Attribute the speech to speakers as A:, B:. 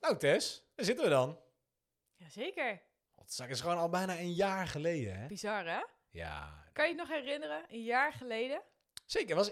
A: Nou Tess, daar zitten we dan.
B: Jazeker.
A: Godzak, is gewoon al bijna een jaar geleden, hè?
B: Bizar, hè?
A: Ja,
B: Kan je het nog herinneren? Een jaar geleden?
A: zeker. Het was